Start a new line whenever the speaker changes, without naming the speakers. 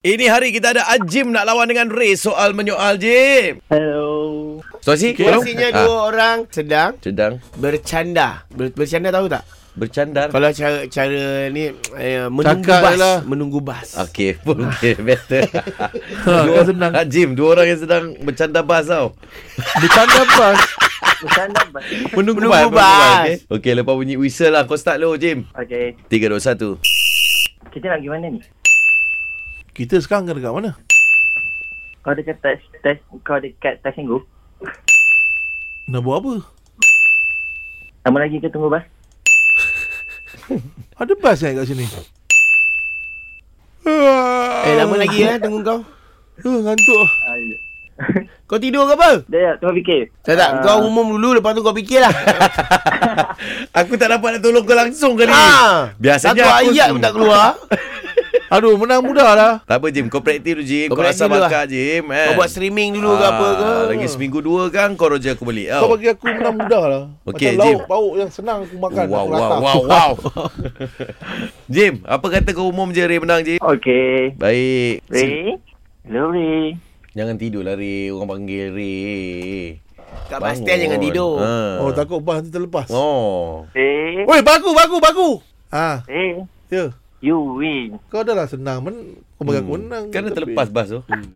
Ini hari kita ada Ajim nak lawan dengan Ray soal menyoal Jim.
Hello.
Situasi?
Okay. Biasanya dua orang sedang
Ah, Sedang
bercanda. Ber- bercanda tahu tak?
bercandar.
Kalau cara cara ni eh, menunggu
Cakap
bas,
je lah.
menunggu bas.
Okey, okey, better.
Ha, kau senang.
Ajim, dua orang yang sedang bercanda bas tau.
Bercanda bas
Menunggu,
Menunggu
bas, menunggu
bas.
Okey, okay, lepas bunyi whistle lah. Kau start dulu, Jim.
Okey,
3, 2, 1.
kita nak pergi mana ni?
Kita sekarang kena dekat mana?
Kau dekat tes, tes kau dekat tes minggu?
Nak buat apa?
Lama lagi ke tunggu bas?
Ada bas kan kat sini?
Eh lama lagi eh tunggu kau.
Eh, ngantuk ah.
Kau tidur ke apa?
Dia tengah fikir.
Tak tak,
Ah,
kau umum dulu lepas tu kau fikirlah.
Aku tak dapat nak tolong kau langsung kali.
ha.
Biasanya
Satu
aku
ayat
tu-
pun tak keluar.
Aduh, menang mudah lah.
Tak apa, Jim. Kau praktis dulu, Jim.
Kau
Kau, kau
praktis
rasa
dulu lah.
bakat, Jim. Eh. Ah,
Kau buat streaming dulu ke apa ke?
Lagi seminggu dua kan, kau roja aku balik.
Kau
tau.
bagi aku menang mudah lah.
Okey,
Macam
Jim.
lauk, pauk yang senang aku makan.
Wow,
aku
wow,
rata.
wow, wow. Jim, apa kata kau umum je Ray menang, Jim?
Ah, Okey.
Baik.
Ray? Hello, Ray.
Jangan tidur lah, Ray. Orang panggil Ray.
Kat bas stand jangan tidur.
Ha.
Oh, takut bas nanti terlepas. Oh.
Oh.
Ray?
Oi, baku, baku, baku. Ha,
Ray?
ya.
You win.
Kau dah lah senang. Men- kau bagi aku menang. Hmm.
Kan dah Hmm. terlepas bas tu.